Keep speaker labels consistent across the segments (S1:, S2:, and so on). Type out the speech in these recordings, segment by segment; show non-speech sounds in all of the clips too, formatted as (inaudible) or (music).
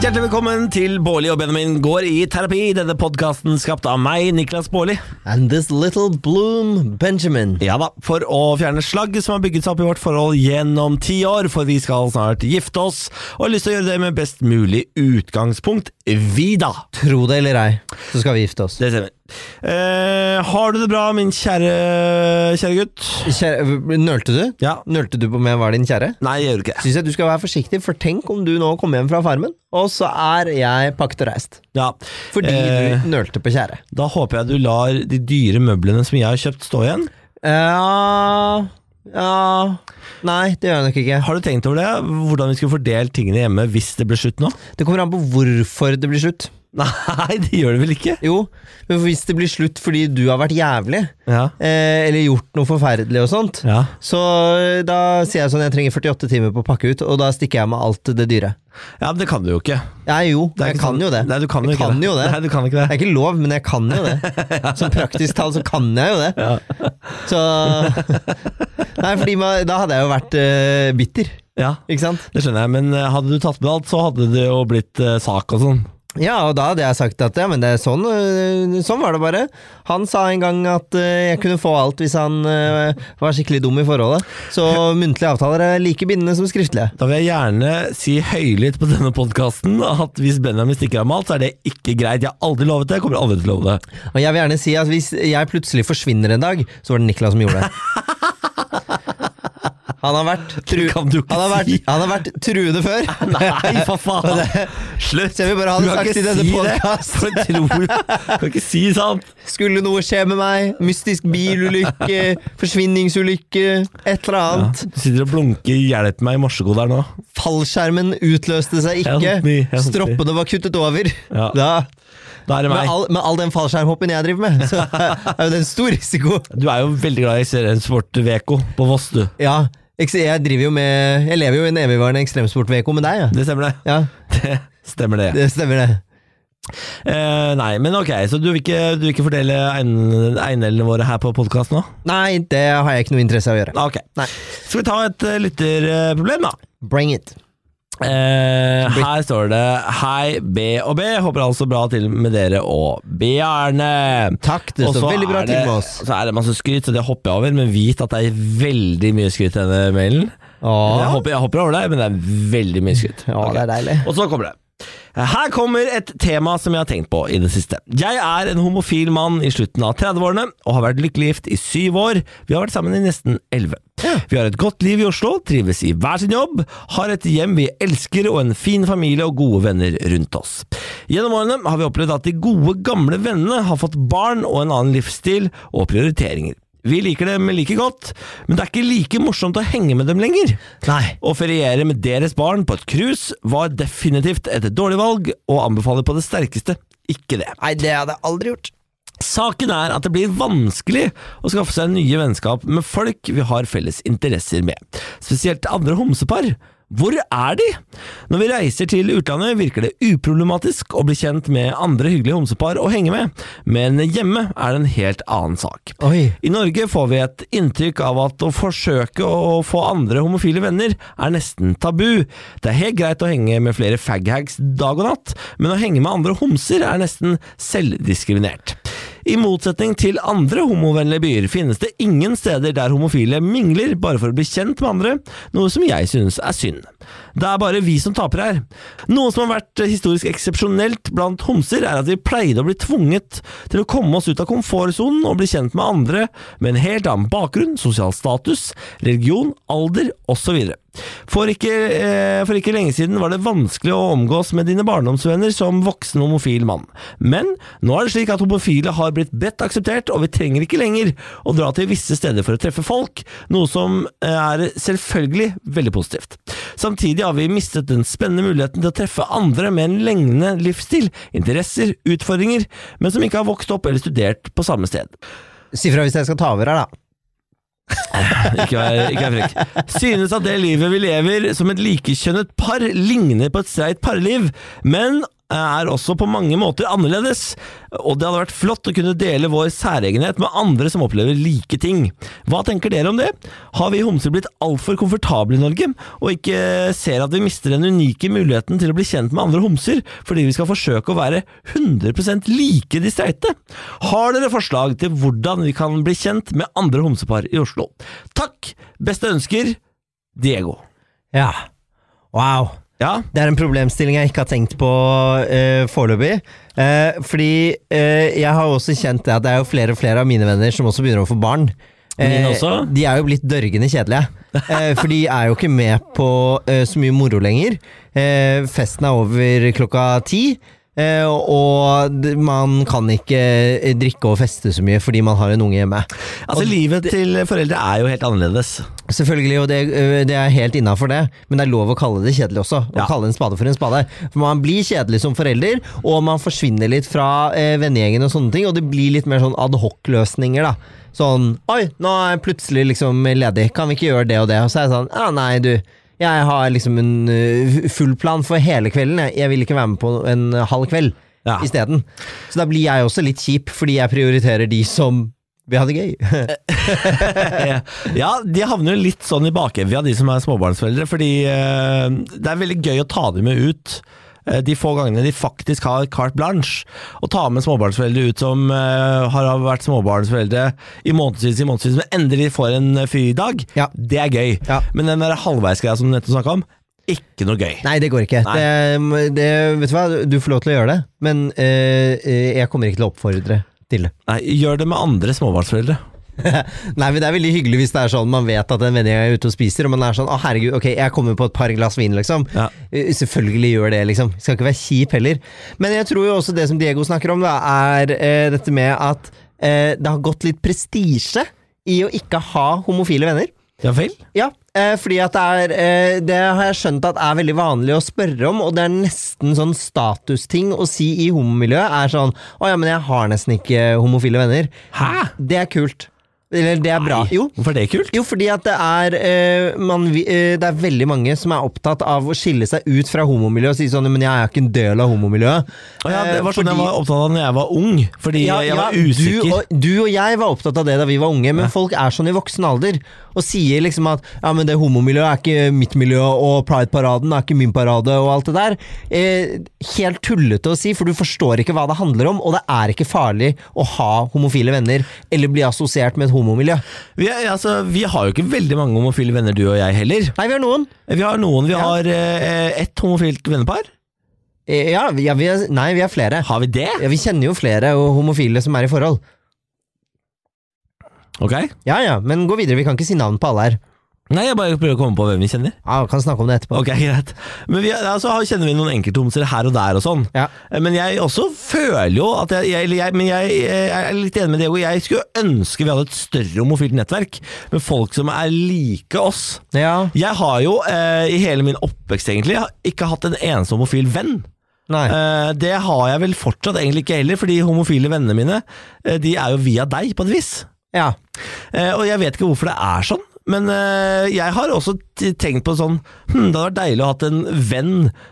S1: Hjertelig velkommen til Bårli og Benjamin går i terapi. Denne podkasten skapt av meg, Niklas Bårli.
S2: And this little bloom, Benjamin.
S1: Ja da, for å fjerne slagg som har bygget seg opp i vårt forhold gjennom ti år, for vi skal snart gifte oss, og har lyst til å gjøre det med best mulig utgangspunkt, vi da.
S2: Tro det eller ei, så skal vi gifte oss.
S1: Det stemmer. Eh, har du det bra, min kjære, kjære gutt?
S2: Kjære, nølte du?
S1: Ja.
S2: Nølte du på om jeg var din kjære?
S1: Nei, jeg gjør ikke det.
S2: Syns jeg du skal være forsiktig, for tenk om du nå kommer hjem fra farmen, og så er jeg pakket og reist.
S1: Ja.
S2: Fordi
S1: Eh,
S2: du nølte på kjære.
S1: Da håper jeg du lar de dyre møblene som jeg har kjøpt, stå igjen.
S2: Ja Ja Nei, det gjør jeg nok ikke.
S1: Har du tenkt over det? Hvordan vi skulle fordelt tingene hjemme hvis det ble slutt nå?
S2: Det kommer an på hvorfor det blir slutt.
S1: (laughs) Nei, det gjør det vel ikke?
S2: Jo, men hvis det blir slutt fordi du har vært jævlig,
S1: Ja.
S2: eh, eller gjort noe forferdelig og sånt,
S1: ja.
S2: Så da sier jeg sånn, jeg trenger 48 timer på å pakke ut, og da stikker jeg med alt det dyre.
S1: Ja, men det kan du jo ikke.
S2: Nei, jo,
S1: Det er
S2: jeg
S1: ikke
S2: kan
S1: sånn-
S2: jo det.
S1: Nei, du kan jo
S2: jeg
S1: ikke
S2: kan
S1: det.
S2: jo det.
S1: Nei, du kan ikke
S2: Det
S1: det.
S2: er ikke lov, men jeg kan jo
S1: (laughs)
S2: det. Som praktisk tall så kan jeg jo det. Så
S1: (laughs)
S2: Nei, fordi man, da hadde jeg jo vært eh, bitter,
S1: Ja,
S2: ikke sant?
S1: det skjønner jeg, men eh, hadde du tatt med alt, så hadde det jo blitt eh, sak og sånn.
S2: Ja, og da hadde jeg sagt at ja, men det er sånn, øh, sånn var det bare. Han sa en gang at øh, jeg kunne få alt hvis han øh, var skikkelig dum i forholdet. Så
S1: (laughs)
S2: muntlige avtaler er like bindende som skriftlige.
S1: Da vil jeg gjerne si høylytt på denne podkasten at hvis Benjamin stikker av med alt, så er det ikke greit. Jeg har aldri lovet det, jeg kommer aldri til å love
S2: (laughs)
S1: det.
S2: Og jeg vil gjerne si at hvis jeg plutselig forsvinner en dag, så var det Niklas som
S1: (laughs)
S2: gjorde det. Han har vært, tru
S1: Det kan du ikke
S2: han har vært,
S1: si.
S2: han har vært truende før.
S1: Nei, for faen! Slutt!
S2: Så jeg vil bare ha
S1: Du
S2: det
S1: kan
S2: sagt
S1: ikke
S2: i denne
S1: si det.
S2: podcast.
S1: For jeg tror- Du kan ikke si sant!
S2: Skulle noe skje med meg, mystisk
S1: (laughs)
S2: bilulykke, forsvinningsulykke, et eller
S1: Ja.
S2: annet.
S1: Du sitter og blunker 'hjelp meg' i morsekode her nå.
S2: Fallskjermen utløste seg ikke.
S1: Help me, help me.
S2: Stroppene var kuttet over.
S1: Ja.
S2: Da,
S1: Da er det
S2: med,
S1: meg.
S2: all, med all den fallskjermhoppen jeg driver med,
S1: (laughs)
S2: så er jo det en stor risiko.
S1: Du er jo veldig glad i seriesport Veko på Voss, du.
S2: Ja, eks- jeg driver jo med Jeg lever jo i en evigvarende ekstremsport-VK med deg, ja.
S1: Det stemmer, det.
S2: ja.
S1: Det stemmer, det.
S2: Det stemmer, det.
S1: Eh, nei, men ok, så du vil ikke, du vil ikke fordele eiend- eiendelene våre her på podkast nå? Ah,
S2: Nei, det har jeg ikke noe interesse av å gjøre.
S1: Ok.
S2: Nei.
S1: Skal vi ta et eh, lytterproblem, da?
S2: Bring it.
S1: Eh, her står det Hei, B og B. Håper alt står bra til med dere og Bjarne.
S2: Takk, det
S1: Og
S2: står
S1: så
S2: veldig bra
S1: er
S2: til
S1: det-
S2: med oss.
S1: Så er det masse skryt, så det hopper jeg over, men vit at det er veldig mye skryt i denne mailen. Jeg,
S2: Åh,
S1: hopper, jeg hopper over det, men det er veldig mye skryt.
S2: Ja,
S1: Ok.
S2: det er deilig.
S1: Og så kommer det. Her kommer et tema som jeg har tenkt på i det siste. Jeg er en homofil mann i slutten av 30-årene og har vært lykkelig gift i syv år. Vi har vært sammen i nesten elleve. Vi har et godt liv i Oslo, trives i hver sin jobb, har et hjem vi elsker og en fin familie og gode venner rundt oss. Gjennom årene har vi opplevd at de gode, gamle vennene har fått barn og en annen livsstil og prioriteringer. Vi liker dem like godt, men det er ikke like morsomt å henge med dem lenger.
S2: Nei.
S1: Å feriere med deres barn på et cruise var definitivt et dårlig valg, og anbefaler på det sterkeste ikke det.
S2: Nei, det hadde jeg aldri gjort.
S1: Saken er at det blir vanskelig å skaffe seg nye vennskap med folk vi har felles interesser med, spesielt andre homsepar. Hvor er de? Når vi reiser til utlandet virker det uproblematisk å bli kjent med andre hyggelige homsepar å henge med, men hjemme er det en helt annen sak.
S2: Oi.
S1: I Norge får vi et inntrykk av at å forsøke å få andre homofile venner er nesten tabu. Det er helt greit å henge med flere faghags dag og natt, men å henge med andre homser er nesten selvdiskriminert. I motsetning til andre homovennlige byer finnes det ingen steder der homofile mingler bare for å bli kjent med andre, noe som jeg synes er synd. Det er bare vi som taper her. Noe som har vært historisk eksepsjonelt blant homser, er at vi pleide å bli tvunget til å komme oss ut av komfortsonen og bli kjent med andre med en helt annen bakgrunn, sosial status, religion, alder osv. For ikke, eh, for ikke lenge siden var det vanskelig å omgås med dine barndomsvenner som voksen homofil mann. Men nå er det slik at homofile har blitt bredt akseptert, og vi trenger ikke lenger å dra til visse steder for å treffe folk, noe som eh, er selvfølgelig veldig positivt. Samtidig har vi mistet den spennende muligheten til å treffe andre med en lengende livsstil, interesser, utfordringer, men som ikke har vokst opp eller studert på samme sted.
S2: Si fra hvis jeg skal ta over her, da.
S1: Ikke vær, ikke vær frekk. Synes at det livet vi lever som et likekjønnet par ligner på et streit parliv, men er også på mange måter annerledes, og det hadde vært flott å kunne dele vår særegenhet med andre som opplever like ting. Hva tenker dere om det? Har vi homser blitt altfor komfortable i Norge, og ikke ser at vi mister den unike muligheten til å bli kjent med andre homser, fordi vi skal forsøke å være 100 like de streite? Har dere forslag til hvordan vi kan bli kjent med andre homsepar i Oslo? Takk! Beste ønsker, Diego.
S2: Ja. Wow.
S1: Ja,
S2: Det er en problemstilling jeg ikke har tenkt på uh, foreløpig. Eh, fordi eh, jeg har jo også kjent det at det er jo flere og flere av mine venner som også begynner å få barn.
S1: Mine
S2: Eh,
S1: også?
S2: De er jo blitt dørgende kjedelige. Eh, for de er jo ikke med på eh, så mye moro lenger. Eh, festen er over klokka ti. eh, og d- man kan ikke eh, drikke og feste så mye fordi man har en unge hjemme.
S1: Altså, livet til foreldre er jo helt annerledes.
S2: Selvfølgelig, og det, ø, det er helt innafor det, men det er lov å kalle det kjedelig også. Å
S1: Ja.
S2: kalle en spade for en spade. For Man blir kjedelig som forelder, og man forsvinner litt fra eh, vennegjengen og sånne ting, og det blir litt mer sånn adhoc-løsninger, da. Sånn Oi, nå er jeg plutselig liksom ledig, kan vi ikke gjøre det og det? Og så er jeg sånn Ja, nei, du. Jeg har liksom en ø, full plan for hele kvelden, jeg. Jeg vil ikke være med på en ø, halv kveld
S1: Ja.
S2: isteden. Så da blir jeg også litt kjip, fordi jeg prioriterer de som vil ha det gøy.
S1: Eh, ja, de havner jo litt sånn i bakevja, de som er småbarnsforeldre, fordi eh, det er veldig gøy å ta dem med ut. eh, De få gangene de faktisk har carte blanche, å ta med småbarnsforeldre ut som eh, har vært småbarnsforeldre i månedsvis, i månedsvis, men endelig får en eh, fridag,
S2: Ja.
S1: det er gøy.
S2: Ja.
S1: Men den der halvveisgreia som du nettopp snakka om, ikke noe gøy.
S2: Nei, det går ikke.
S1: Nei.
S2: Det, det, vet du hva, du får lov til å gjøre det, men eh, eh, jeg kommer ikke til å oppfordre til det.
S1: Nei, gjør det med andre småbarnsforeldre.
S2: Nei, men Det er veldig hyggelig hvis det er sånn man vet at en vennegjeng er ute og spiser, og man er sånn 'Å, herregud, ok, jeg kommer på et par glass vin', liksom.
S1: Ja.
S2: Eh, Selvfølgelig gjør det, liksom. Skal ikke være kjip heller. Men jeg tror jo også det som Diego snakker om, da, er eh, dette med at eh, det har gått litt prestisje i å ikke ha homofile venner.
S1: Ja vel?
S2: Ja, eh, fordi at det er eh, Det har jeg skjønt at er veldig vanlig å spørre om, og det er nesten sånn statusting å si i homomiljøet. Er sånn 'Å ja, men jeg har nesten ikke homofile venner'.
S1: Hæ?
S2: Det er kult. Eller det er bra. Jo.
S1: Hvorfor er det kult?
S2: Jo, fordi at det er eh, man, vi- eh, Det er veldig mange som er opptatt av å skille seg ut fra homomiljøet og si sånn 'Men jeg er ikke en del av homomiljøet'.
S1: Å Ja, det
S2: Eh,
S1: var sånn
S2: fordi-
S1: jeg var opptatt av da jeg var ung, fordi jeg var usikker.
S2: du og, du og jeg var opptatt av det da vi var unge, men folk er sånn i voksen alder og sier liksom at ja, men det homomiljøet er ikke mitt miljø, og Pride-paraden er ikke min parade, og alt det der. Eh, helt tullete å si, for du forstår ikke hva det handler om, og det er ikke farlig å ha homofile venner eller bli assosiert med et homomiljø.
S1: Vi, er, altså, vi har jo ikke veldig mange homofile venner, du og jeg heller.
S2: Nei, vi har noen.
S1: Vi har noen. Vi har eh, ett homofilt vennepar.
S2: Eh, ja, vi- ja, vi er, nei, vi er flere.
S1: Har vi det?
S2: Ja, vi kjenner jo flere og homofile som er i forhold.
S1: Ok.
S2: Ja ja, men gå videre, vi kan ikke si navn på alle her.
S1: Nei, jeg bare prøver å komme på hvem vi kjenner.
S2: Ja, vi kan snakke om det etterpå.
S1: Ok, greit. Men vi, altså, har- kjenner vi noen enkelthomser her og der og sånn.
S2: Ja.
S1: Eh, Men jeg også føler jo at jeg, jeg, eller jeg, men jeg, eh, jeg er litt enig med Diego. Jeg skulle ønske vi hadde et større homofilt nettverk med folk som er like oss.
S2: Ja,
S1: Jeg har jo eh, i hele min oppvekst egentlig ikke hatt en eneste homofil venn.
S2: nei.
S1: Eh, det har jeg vel fortsatt egentlig ikke heller, for de homofile vennene mine eh, De er jo via deg, på et vis.
S2: Ja.
S1: Eh, og jeg vet ikke hvorfor det er sånn, men eh, jeg har også t- tenkt på sånn hm, Det hadde vært deilig å ha hatt en venn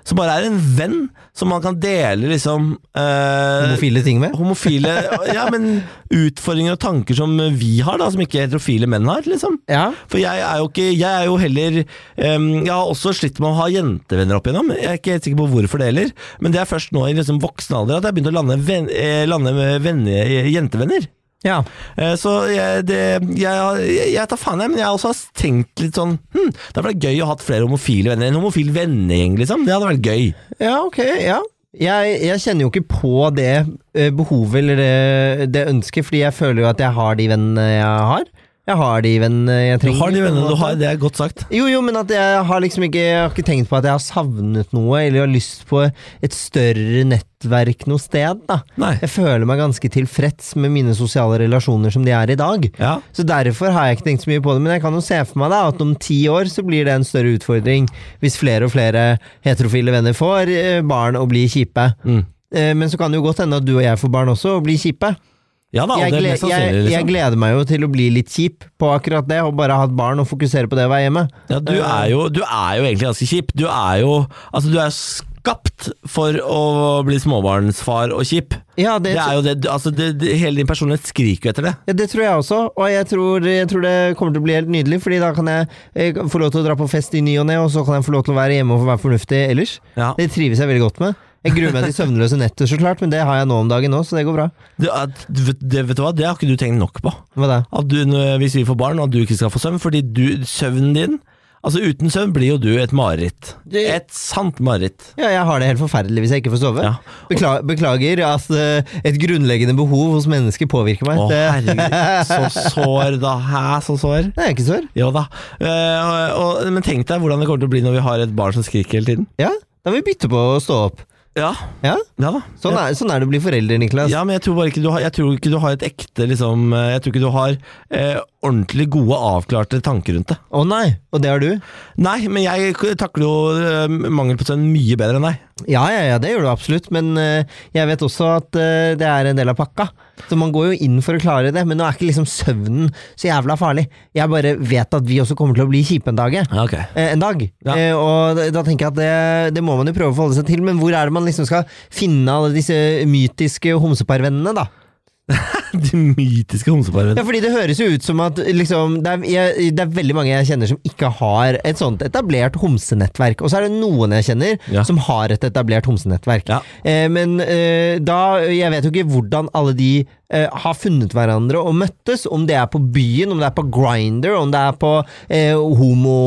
S1: som bare er en venn, som man kan dele liksom eh,
S2: Homofile ting med?
S1: Homofile Ja, men utfordringer og tanker som vi har, da, som ikke heterofile menn har, liksom.
S2: Ja.
S1: For jeg er jo ikke Jeg er jo heller ehm, Jeg har også slitt med å ha jentevenner opp igjennom. Jeg er ikke helt sikker på hvorfor det heller. Men det er først nå i liksom voksen alder at jeg har begynt å lande, ven, eh, lande med venne, jentevenner.
S2: Ja.
S1: Eh, Så jeg, det, jeg, har- jeg, jeg tar faen jeg, men jeg har også tenkt litt sånn hm, Det hadde vært gøy å ha hatt flere homofile venner. En homofil vennegjeng, liksom. Det hadde vært gøy.
S2: Ja, ok, ja. Jeg, jeg kjenner jo ikke på det eh, behovet eller det, det ønsket, fordi jeg føler jo at jeg har de vennene jeg har. Jeg har de vennene jeg
S1: Du
S2: trenger.
S1: har de vennene du har,
S2: det.
S1: det er godt sagt.
S2: Jo, jo, men at jeg har liksom ikke, jeg har ikke tenkt på at jeg har savnet noe, eller har lyst på et større nettverk noe sted, da.
S1: Nei.
S2: Jeg føler meg ganske tilfreds med mine sosiale relasjoner som de er i dag.
S1: Ja.
S2: Så derfor har jeg ikke tenkt så mye på det, men jeg kan jo se for meg da at om ti år så blir det en større utfordring hvis flere og flere heterofile venner får eh, barn og blir kjipe.
S1: Mm.
S2: Eh, Men så kan det jo godt hende at du og jeg får barn også og blir kjipe.
S1: Ja da, og
S2: Jeg,
S1: det er
S2: gle
S1: mest
S2: jeg,
S1: sannsynlig,
S2: jeg
S1: liksom.
S2: gleder meg jo til å bli litt kjip på akkurat det, og bare ha et barn og fokusere på det å være hjemme.
S1: Ja, du er jo, du er jo egentlig ganske kjip. Du er jo Altså, du er jo skapt for å bli småbarnsfar og kjip.
S2: Ja, det,
S1: Det er jo det, du- altså det, det, hele din personlighet skriker jo etter det.
S2: ja, det tror jeg også, og jeg tror, jeg tror det kommer til å bli helt nydelig, fordi da kan jeg, jeg kan få lov til å dra på fest i ny og ne, og så kan jeg få lov til å være hjemme og være fornuftig ellers.
S1: Ja.
S2: Det trives jeg veldig godt med. Jeg gruer meg til søvnløse netter, så klart, men det har jeg nå om dagen òg, så det går bra.
S1: Det, at- det, det, vet du hva? det har ikke du tenkt nok på.
S2: Hva da?
S1: At du, når- hvis vi får barn, at du ikke skal få søvn. Fordi du, søvnen din Altså Uten søvn blir jo du et mareritt.
S2: Det-
S1: Et sant mareritt.
S2: Ja, jeg har det helt forferdelig hvis jeg ikke får sove.
S1: Ja.
S2: Bekla beklager at eh, et grunnleggende behov hos mennesker påvirker meg.
S1: Å
S2: det,
S1: herregud, så sår da. Hæ, så sår?
S2: det er ikke sår.
S1: Jo da. Eh, og, men tenk deg hvordan det kommer til å bli når vi har et barn som skriker hele tiden.
S2: Ja, da må vi bytte på å stå opp.
S1: Ja,
S2: Ja,
S1: ja da.
S2: Sånn er, sånn er det å bli forelder, Niklas.
S1: Ja, men jeg tror bare ikke du har, jeg tror ikke du har et ekte liksom, eh, Jeg tror ikke du har eh, ordentlig gode, avklarte tanker rundt det.
S2: Å nei, og det har du?
S1: Nei, men jeg k- takler jo eh, mangel på søvn mye bedre enn deg.
S2: Ja, ja, ja, det gjør du absolutt, men eh, jeg vet også at eh, det er en del av pakka. Så man går jo inn for å klare det, men nå er ikke liksom søvnen så jævla farlig. Jeg bare vet at vi også kommer til å bli kjipe en dag. jeg.
S1: (laughs) Ja, ok.
S2: Eh, En dag.
S1: Ja.
S2: Eh, og da- da tenker jeg at det, det må man jo prøve å forholde seg til, men hvor er det man liksom skal finne alle disse mytiske homseparvennene, da?
S1: De mytiske homseparene.
S2: Ja, fordi det høres jo ut som at liksom, det, er, jeg, det er veldig mange jeg kjenner som ikke har et sånt etablert homsenettverk. Og så er det noen jeg kjenner
S1: Ja.
S2: som har et etablert homsenettverk.
S1: Ja.
S2: Eh, men eh, da Jeg vet jo ikke hvordan alle de eh, har funnet hverandre og møttes. Om det er på byen, om det er på Grinder, om det er på eh, homo,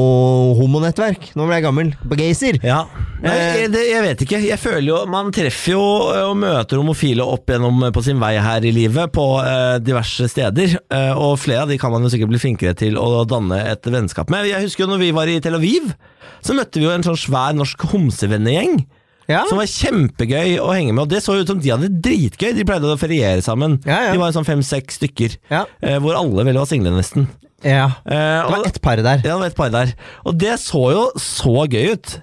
S2: homonettverk. Nå ble jeg gammel. På Gaysir.
S1: Ja. Nei,
S2: Eh.
S1: jeg, det, jeg vet ikke. Jeg føler jo Man treffer jo eh, og møter homofile opp gjennom eh, på sin vei her i livet på eh, diverse steder. Eh, og flere av de kan man jo sikkert bli flinkere til å danne et vennskap med. Jeg husker jo når vi var i Tel Aviv, så møtte vi jo en sånn svær norsk homsevennegjeng.
S2: Ja.
S1: Som var kjempegøy å henge med. Og det så ut som de hadde det dritgøy. De pleide å feriere sammen.
S2: Ja, ja.
S1: De var sånn fem-seks stykker,
S2: Ja.
S1: eh, hvor alle vel var single, nesten.
S2: ja.
S1: Eh,
S2: Det var
S1: og,
S2: ett par
S1: ja,
S2: der.
S1: det var et par der. Og det så jo så gøy ut.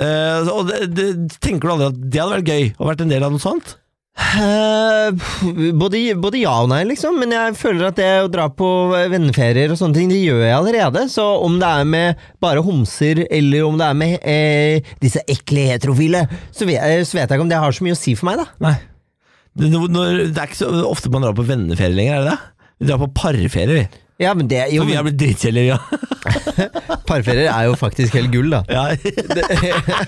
S1: Eh, og det, det, tenker du aldri at det hadde vært gøy å vært en del av noe sånt?
S2: Eh, pff, både, både ja og nei, liksom. Men jeg føler at det å dra på venneferier og sånne ting, det gjør jeg allerede. Så om det er med bare homser, eller om det er med eh, disse ekle heterofile, så vet, eh, så vet jeg ikke om det har så mye å si for meg, da.
S1: Nei. Det, når, det er ikke så ofte man drar på venneferie lenger, er det det? Vi drar på parferie, vi.
S2: Ja, men det, jo,
S1: For vi har blitt dritkjedelige, ja.
S2: Parferier er jo faktisk helt gull, (laughs) da.
S1: (laughs) ja.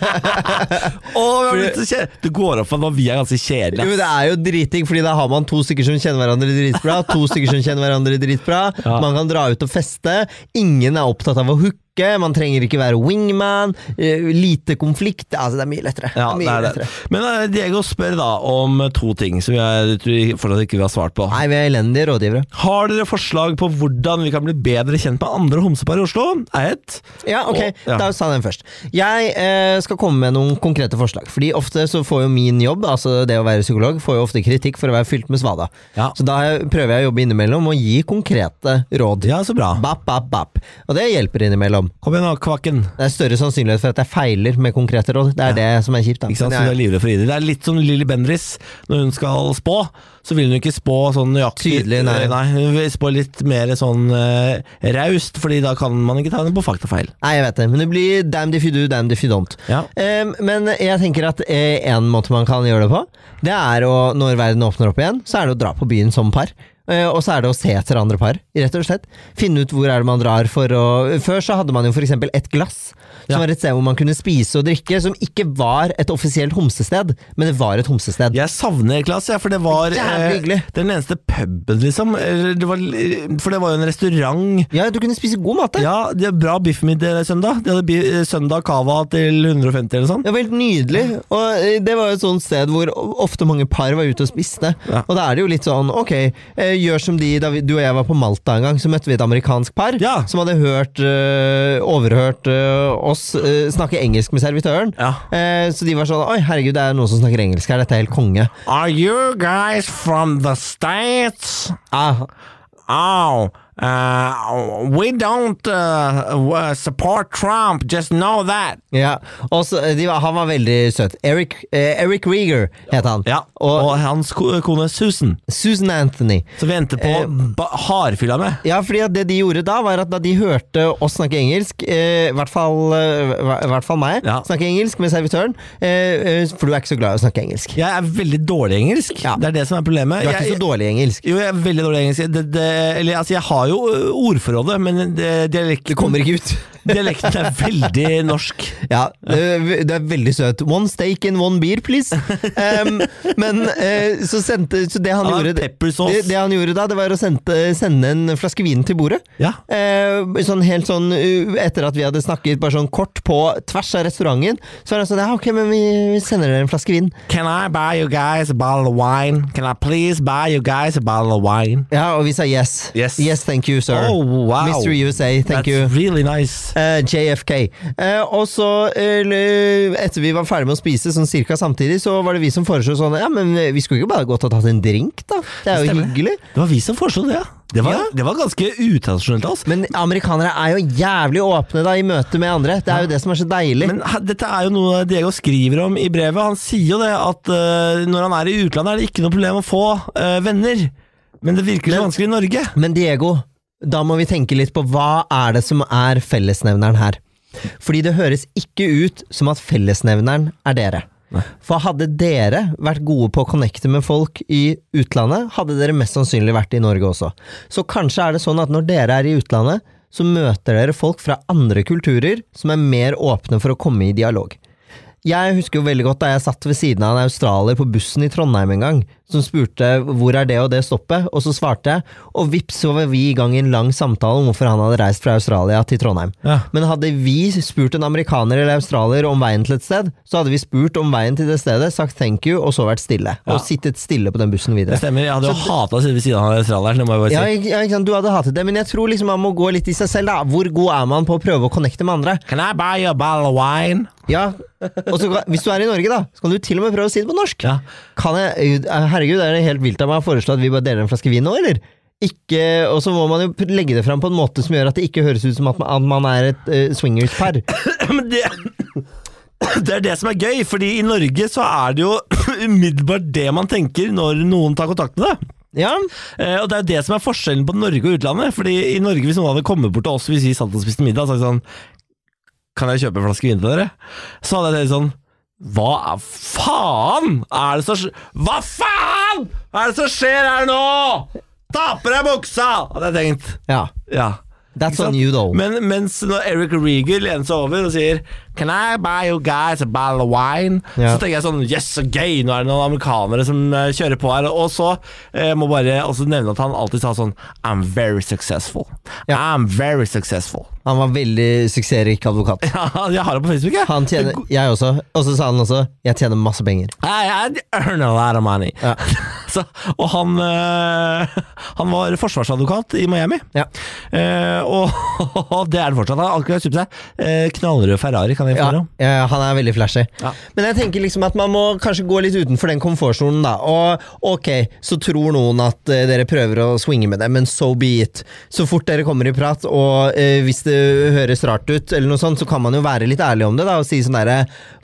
S1: Å, vi har blitt så kjede- Det går opp for meg at vi er ganske kjedelige.
S2: Jo, men Det er jo driting, fordi da har man to stykker som kjenner hverandre dritbra. To stykker som kjenner hverandre dritbra
S1: Ja.
S2: Man kan dra ut og feste. Ingen er opptatt av å hooke. Man trenger ikke være wingman. eh, Lite konflikt. Altså, det er mye lettere.
S1: Ja,
S2: mye
S1: det er det.
S2: lettere.
S1: Men eh, Diego spør da om to ting som jeg tror fortsatt ikke vi har svart på.
S2: Nei, vi er elendige rådgivere.
S1: Har dere forslag på hvordan vi kan bli bedre kjent med andre homsepar i Oslo? Er et.
S2: Ja, ok,
S1: Å, ja.
S2: Da sa jeg den først. Jeg eh, skal komme med noen konkrete forslag. Fordi ofte så får jo min jobb, altså det å være psykolog, får jo ofte kritikk for å være fylt med svada.
S1: Ja.
S2: Så da prøver jeg å jobbe innimellom og gi konkrete råd.
S1: ja, så bra.
S2: Bap, bap, bap. Og det hjelper innimellom.
S1: Kom igjen, da, Kvaken.
S2: Det er større sannsynlighet for at jeg feiler med konkrete råd. Det er det som er kjipt. Da.
S1: Ikke sant, så du
S2: Men jeg
S1: er livredd for å gi det. Det er litt som Lilly Bendriss. Når hun skal spå, så vil hun ikke spå sånn nøyaktig.
S2: Tydelig, nei.
S1: Hun vil spå litt mer sånn eh, raust, Fordi da kan man ikke ta henne på faktafeil.
S2: Nei, jeg vet det, men det blir damned if you do, damned if you don't.
S1: Ja.
S2: Ehm, men jeg tenker at eh, en måte man kan gjøre det på, det er å, når verden åpner opp igjen, så er det å dra på byen som par. Eh, og så er det å se etter andre par, rett og slett. Finne ut hvor er det man drar for å Før så hadde man jo f.eks. et glass,
S1: Ja.
S2: som var et sted hvor man kunne spise og drikke, som ikke var et offisielt homsested, men det var et homsested.
S1: Jeg savner Klas, ja, for det var eh,
S2: Jævlig hyggelig.
S1: den eneste puben, liksom. Eller Det var, for det var jo en restaurant.
S2: Ja, du kunne spise god mat der.
S1: Ja, de hadde bra biffmiddag søndag. De hadde bi eh, søndag cava til 150 eller sånn.
S2: Det var helt nydelig. Og eh, det var jo et sånt sted hvor ofte mange par var ute og spiste.
S1: Ja.
S2: Og da er det jo litt sånn, ok, eh, gjør som de da vi, du og jeg var på Malta en gang, så møtte vi et amerikansk par
S1: Ja.
S2: som hadde hørt, eh, overhørt eh, oss eh, snakke engelsk med servitøren.
S1: Ja.
S2: Eh, så de var sånn, oi herregud, det er noen som snakker engelsk her, dette er helt konge.
S1: Are you guys from the States?
S2: Ah,
S1: Oh, Uh, we don't uh, w- support Trump, just know that.
S2: Ja, og så, eh, de, var- Han var veldig søt. Eric, eh, Eric Rieger het han.
S1: Ja, og,
S2: Og
S1: hans ko- kone Susan,
S2: Susan Anthony.
S1: som vi endte på ba- hardfylla med.
S2: Ja, fordi at det de gjorde da, var at da de hørte oss snakke engelsk, eh, i hvert fall, eh, hva- i hvert fall meg,
S1: Ja.
S2: snakke engelsk med servitøren, eh, eh, for du er ikke så glad i å snakke engelsk.
S1: Jeg er veldig dårlig i engelsk,
S2: Ja.
S1: det er det som er problemet.
S2: Du er ikke
S1: Jeg-
S2: så dårlig i engelsk.
S1: Jo, jeg er veldig dårlig i engelsk. Det, det, eller, altså, jeg har jo ø, ordforrådet, men uh, det, dialekten,
S2: Det kommer ikke ut.
S1: dialekten er veldig (laughs) norsk.
S2: (laughs) Ja, det, det er veldig søt. One steak and one beer, please. Em, men eh, så sendte Så det han
S1: Ja,
S2: gjorde
S1: pepper sauce.
S2: det, det han gjorde da, det var å sendte, sende en flaske vin til bordet.
S1: Ja.
S2: Eh, sånn helt sånn uh, Etter at vi hadde snakket bare sånn kort på tvers av restauranten, så var det sånn ja, Ok, men vi, vi sender dere en flaske vin.
S1: Can I buy you guys a bottle of wine? Can I please buy you guys a bottle of wine?
S2: Ja, og vi sa yes.
S1: Yes.
S2: thank you, sir.
S1: Oh, wow.
S2: Mr. USA, thank
S1: That's
S2: you.
S1: really nice.
S2: Eh, JFK. Eh, og så, eh, l- etter vi var ferdig med å spise, sånn cirka samtidig, så var det vi som foreslo sånn Ja, men vi skulle ikke bare gått og tatt en drink, da? Det er jo
S1: Stemmer det.
S2: hyggelig.
S1: Det var vi som foreslo det, ja. Det var,
S2: Ja.
S1: det var ganske utradisjonelt av oss.
S2: Men amerikanere er jo jævlig åpne da i møte med andre. Det er jo det som er så deilig.
S1: Men he- dette er jo noe Diego skriver om i brevet. Han sier jo det at ø, når han er i utlandet, er det ikke noe problem å få ø, venner. Men det virker så
S2: Men-
S1: vanskelig i Norge.
S2: Men Diego, da må vi tenke litt på hva er det som er fellesnevneren her? Fordi det høres ikke ut som at fellesnevneren er dere. For hadde dere vært gode på å connecte med folk i utlandet, hadde dere mest sannsynlig vært i Norge også. Så kanskje er det sånn at når dere er i utlandet, så møter dere folk fra andre kulturer som er mer åpne for å komme i dialog. Jeg husker jo veldig godt da jeg satt ved siden av en australier på bussen i Trondheim en gang, som spurte hvor er det og det stoppet, og så svarte jeg, og vips så var vi i gang i en lang samtale om hvorfor han hadde reist fra Australia til Trondheim.
S1: Ja.
S2: Men hadde vi spurt en amerikaner eller australier om veien til et sted, så hadde vi spurt om veien til det stedet, sagt thank you, og så vært stille.
S1: Ja.
S2: Og sittet stille på den bussen videre.
S1: Det stemmer. Jeg hadde jo hata å sitte ved siden av australieren. det må jeg bare si.
S2: Ja, ikke, ja, ikke sant? Du hadde hatet det, men jeg tror liksom man må gå litt i seg selv. da Hvor god er man på å prøve å connecte med andre?
S1: Can I buy you a bottle of wine?
S2: Ja, og så, kan- Hvis du er i Norge, da, så kan du til og med prøve å si det på norsk.
S1: Ja.
S2: Kan jeg, eh, herregud, er det helt vilt av meg å foreslå at vi bare deler en flaske vin nå, eller? Ikke, og så må man jo legge det fram på en måte som gjør at det ikke høres ut som at man, at man er et uh, swingers-par.
S1: (clears throat) Men det, (clears throat) det er det som er gøy, fordi i Norge så er det jo (clears throat) umiddelbart det man tenker når noen tar kontakt med deg.
S2: Ja,
S1: Eh, og det er jo det som er forskjellen på Norge og utlandet. Fordi i Norge, hvis noen hadde kommet bort til oss hvis vi satt og spiste middag og sagt sånn Kan jeg kjøpe en flaske vin til dere? Så hadde jeg tenkt sånn Hva er- faen er det som skj- Hva faen er det som skjer her nå?! Ta på deg buksa! Hadde jeg tenkt.
S2: ja.
S1: Ja.
S2: That's
S1: Ikke sant?
S2: on you, though.
S1: Men mens når Eric Rieger lener seg over og sier Can I buy you guys a bottle of wine?
S2: Ja.
S1: Så tenker jeg sånn Yes, så gøy! Nå er det noen amerikanere som eh, kjører på her. Og så eh, må bare også nevne at han alltid sa sånn I'm very successful. I'm very successful. (laughs)
S2: Han var veldig suksessrik advokat.
S1: Ja, jeg har det på Facebook, jeg.
S2: Han tjener, jeg også, og så sa han også 'jeg tjener masse penger'.
S1: I, I earn a lot of money.
S2: Ja.
S1: (laughs) så, og han, eh, han var forsvarsadvokat i Miami.
S2: Ja.
S1: Eh, og, (laughs) det er det fortsatt. Han har akkurat kjøpt seg eh, knallrød Ferrari, kan jeg
S2: Ja,
S1: informere om.
S2: eh, han er veldig flashy.
S1: Ja.
S2: Men jeg tenker liksom at man må kanskje gå litt utenfor den komfortsonen, da. Og ok, så tror noen at eh, dere prøver å swinge med det, men so be it. Så fort dere kommer i prat, og eh, hvis det høres rart ut, eller noe sånt, så kan man jo være litt ærlig om det, da, og si sånn derre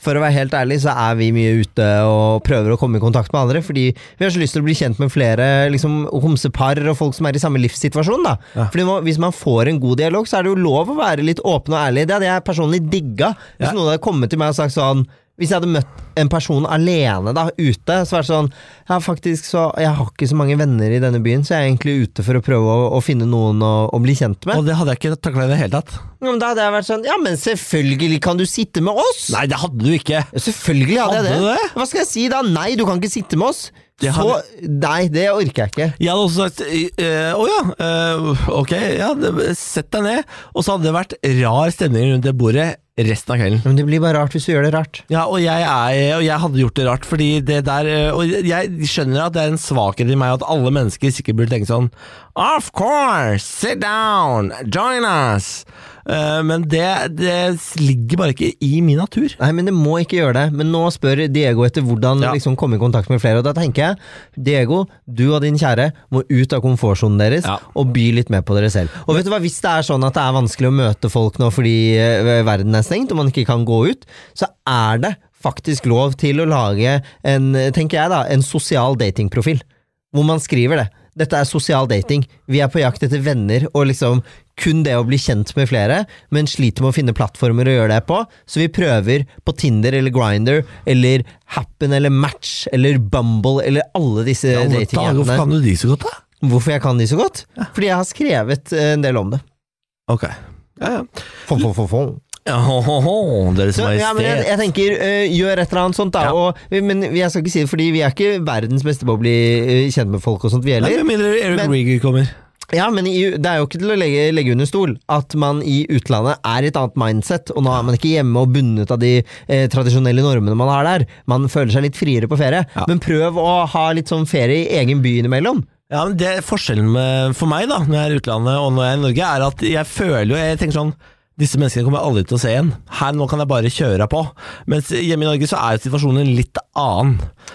S2: For å være helt ærlig, så er vi mye ute og prøver å komme i kontakt med andre, fordi vi har så lyst til å bli kjent med flere liksom, homsepar og folk som er i samme livssituasjon, da. Fordi man, hvis man får en god dialog, så er det jo lov å være litt åpen og ærlig. Det hadde jeg personlig digga.
S1: Ja.
S2: Hvis noen hadde kommet til meg og sagt sånn hvis jeg hadde møtt en person alene da, ute, så var det sånn ja, faktisk så, Jeg har ikke så mange venner i denne byen, så jeg er egentlig ute for å prøve å, å finne noen å, å bli kjent med.
S1: Og det hadde jeg ikke takla i det hele tatt.
S2: Ja, men da hadde jeg vært sånn Ja, men selvfølgelig kan du sitte med oss!
S1: Nei, det hadde du ikke.
S2: Ja, Selvfølgelig hadde, jeg
S1: Hadde
S2: det.
S1: du det?
S2: Hva skal jeg si da? Nei, du kan ikke sitte med oss.
S1: Det
S2: Så Nei, det orker jeg ikke.
S1: Jeg hadde også sagt eh, Å ja, eh, ok, ja, det- sett deg ned. Og så hadde det vært rar stemning rundt det bordet resten av kvelden.
S2: Men det blir bare rart hvis du gjør det rart.
S1: Ja, og jeg, er, og jeg hadde gjort det rart, fordi det der eh, Og jeg skjønner at det er en svakhet i meg at alle mennesker sikkert burde tenke sånn Of course! Sit down! Join us! Eh, Men det, det ligger bare ikke i min natur.
S2: Nei, men det må ikke gjøre det. Men nå spør Diego etter hvordan
S1: Ja.
S2: liksom komme i kontakt med flere, og da tenker jeg Diego, du og din kjære må ut av komfortsonen deres
S1: Ja.
S2: og by litt mer på dere selv. Og vet du hva, hvis det er sånn at det er vanskelig å møte folk nå fordi eh, verden er stengt og man ikke kan gå ut, så er det faktisk lov til å lage en, tenker jeg da, en sosial datingprofil. Hvor man skriver det. Dette er sosial dating. Vi er på jakt etter venner og liksom kun det å bli kjent med flere, men sliter med å finne plattformer å gjøre det på, så vi prøver på Tinder eller Grinder eller Happen eller Match eller Bumble eller alle disse
S1: Ja, men da, Hvorfor
S2: datingappene.
S1: kan du de så godt, da?
S2: Hvorfor jeg kan de så godt? Fordi jeg har skrevet eh, en del om det.
S1: Ok. Ja, ja.
S2: Fom, fom, fom, fom.
S1: Ja, ho, ho, ho, Deres
S2: Så, ja, men jeg,
S1: Majestet.
S2: jeg tenker, øh, gjør et eller annet sånt, da.
S1: Ja.
S2: Og, men jeg skal ikke si det, fordi vi er ikke verdens beste på å bli øh, kjent med folk og sånt, vi
S1: Nei,
S2: heller.
S1: Med mindre Eric
S2: Men-
S1: Rieger kommer.
S2: Ja, men i, det er jo ikke til å legge, legge under stol at man i utlandet er i et annet mindset, og nå er man ikke hjemme og bundet av de eh, tradisjonelle normene man har der. Man føler seg litt friere på ferie,
S1: Ja.
S2: men prøv å ha litt sånn ferie i egen by innimellom.
S1: Ja, men det Forskjellen med, for meg da når jeg er i utlandet og når jeg er i Norge, er at jeg føler jo Jeg tenker sånn disse menneskene kommer jeg aldri til å se igjen. Her nå kan jeg bare kjøre på. Mens hjemme i Norge så er jo situasjonen en litt annen.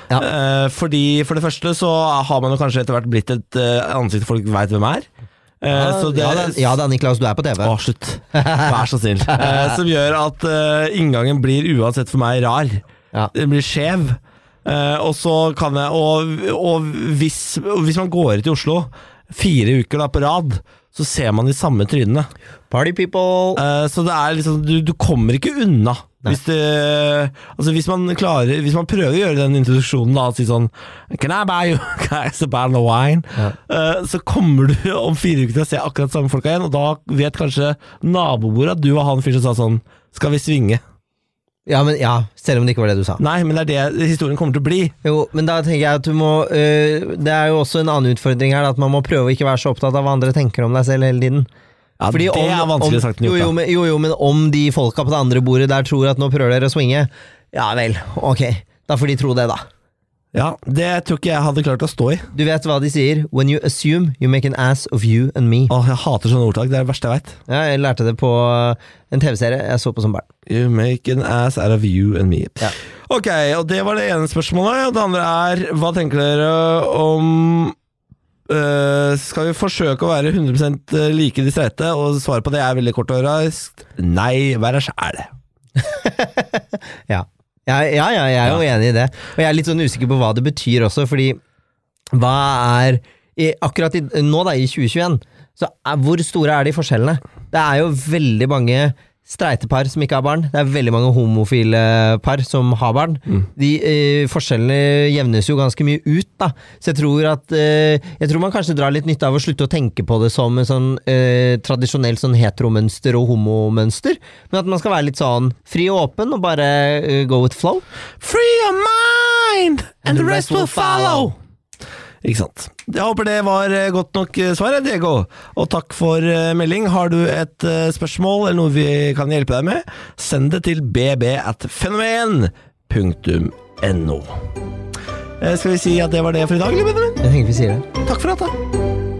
S2: Ja.
S1: Eh, fordi For det første så har man jo kanskje etter hvert blitt et eh, ansikt folk veit hvem er. Eh, så det,
S2: Ah, ja, da, ja da, Niklas, du er på TV.
S1: Å, (laughs) slutt. Vær så snill. Eh, som gjør at eh, inngangen blir uansett for meg rar.
S2: Ja.
S1: Den blir skjev. Eh, og så kan jeg Og, og hvis, og hvis man går ut i Oslo fire uker da på rad, så ser man de samme trynene.
S2: Party people!
S1: Eh, så det er liksom Du, du kommer ikke unna. Hvis, det, altså hvis, man klarer, hvis man prøver å gjøre den introduksjonen da, og si sånn Can I buy you (laughs) guys a bottle of wine? Eh, så kommer du om fire uker til å se akkurat samme folka igjen, og da vet kanskje nabobordet at du var han fyren som sa sånn Skal vi svinge?
S2: Ja, men ja, selv om det ikke var det du sa.
S1: Nei, men det er det historien kommer til å bli.
S2: Jo, men da tenker jeg at du må øh, Det er jo også en annen utfordring her, da, at man må prøve å ikke være så opptatt av hva andre tenker om deg selv hele tiden.
S1: Ja,
S2: Fordi
S1: det
S2: om-
S1: er vanskeligere
S2: om-
S1: sagt enn gjort.
S2: Jo, jo,
S1: da.
S2: men, jo, jo, men om de folka på det andre bordet der tror at nå prøver dere å swinge, ja vel, ok. Da får de tro det, da.
S1: Ja, det tror ikke jeg hadde klart å stå i.
S2: Du vet hva de sier? When you assume, you make an ass of you and me.
S1: Åh, jeg hater sånne ordtak. Det er det verste jeg veit.
S2: Ja, jeg lærte det på eh, en TV-serie jeg så på som barn.
S1: You make an ass out of you and me.
S2: Ja.
S1: Ok, og det var det ene spørsmålet. Og det andre er, hva tenker dere om øh, Skal vi forsøke å være 100 like de streite? Og svaret på det er veldig kort og raskt. Nei, vær deg sjæl.
S2: Ja. Ja, ja, ja, jeg er jo enig i det. Og jeg er litt sånn usikker på hva det betyr også, fordi hva er i, Akkurat i, nå, da, i 2021, så er, hvor store er de forskjellene? Det er jo veldig mange streite par som ikke har barn. Det er veldig mange homofile par som har barn. De eh, Forskjellene jevnes jo ganske mye ut, da. Så jeg tror at eh, Jeg tror man kanskje drar litt nytte av å slutte å tenke på det som en sånn eh, tradisjonelt sånn heteromønster og homomønster, men at man skal være litt sånn fri og åpen og bare eh, go with flow.
S1: Free your mind, and the rest will follow. Ikke sant. Jeg håper det var eh, godt nok eh, svar, eh, Diego. Og takk for eh, melding. Har du et eh, spørsmål eller noe vi kan hjelpe deg med, send det til bb at fenomen.no. Eh, Skal vi si at det var det for i dag, eller? Benjamin?
S2: Jeg tenker vi sier det.
S1: Takk for at da.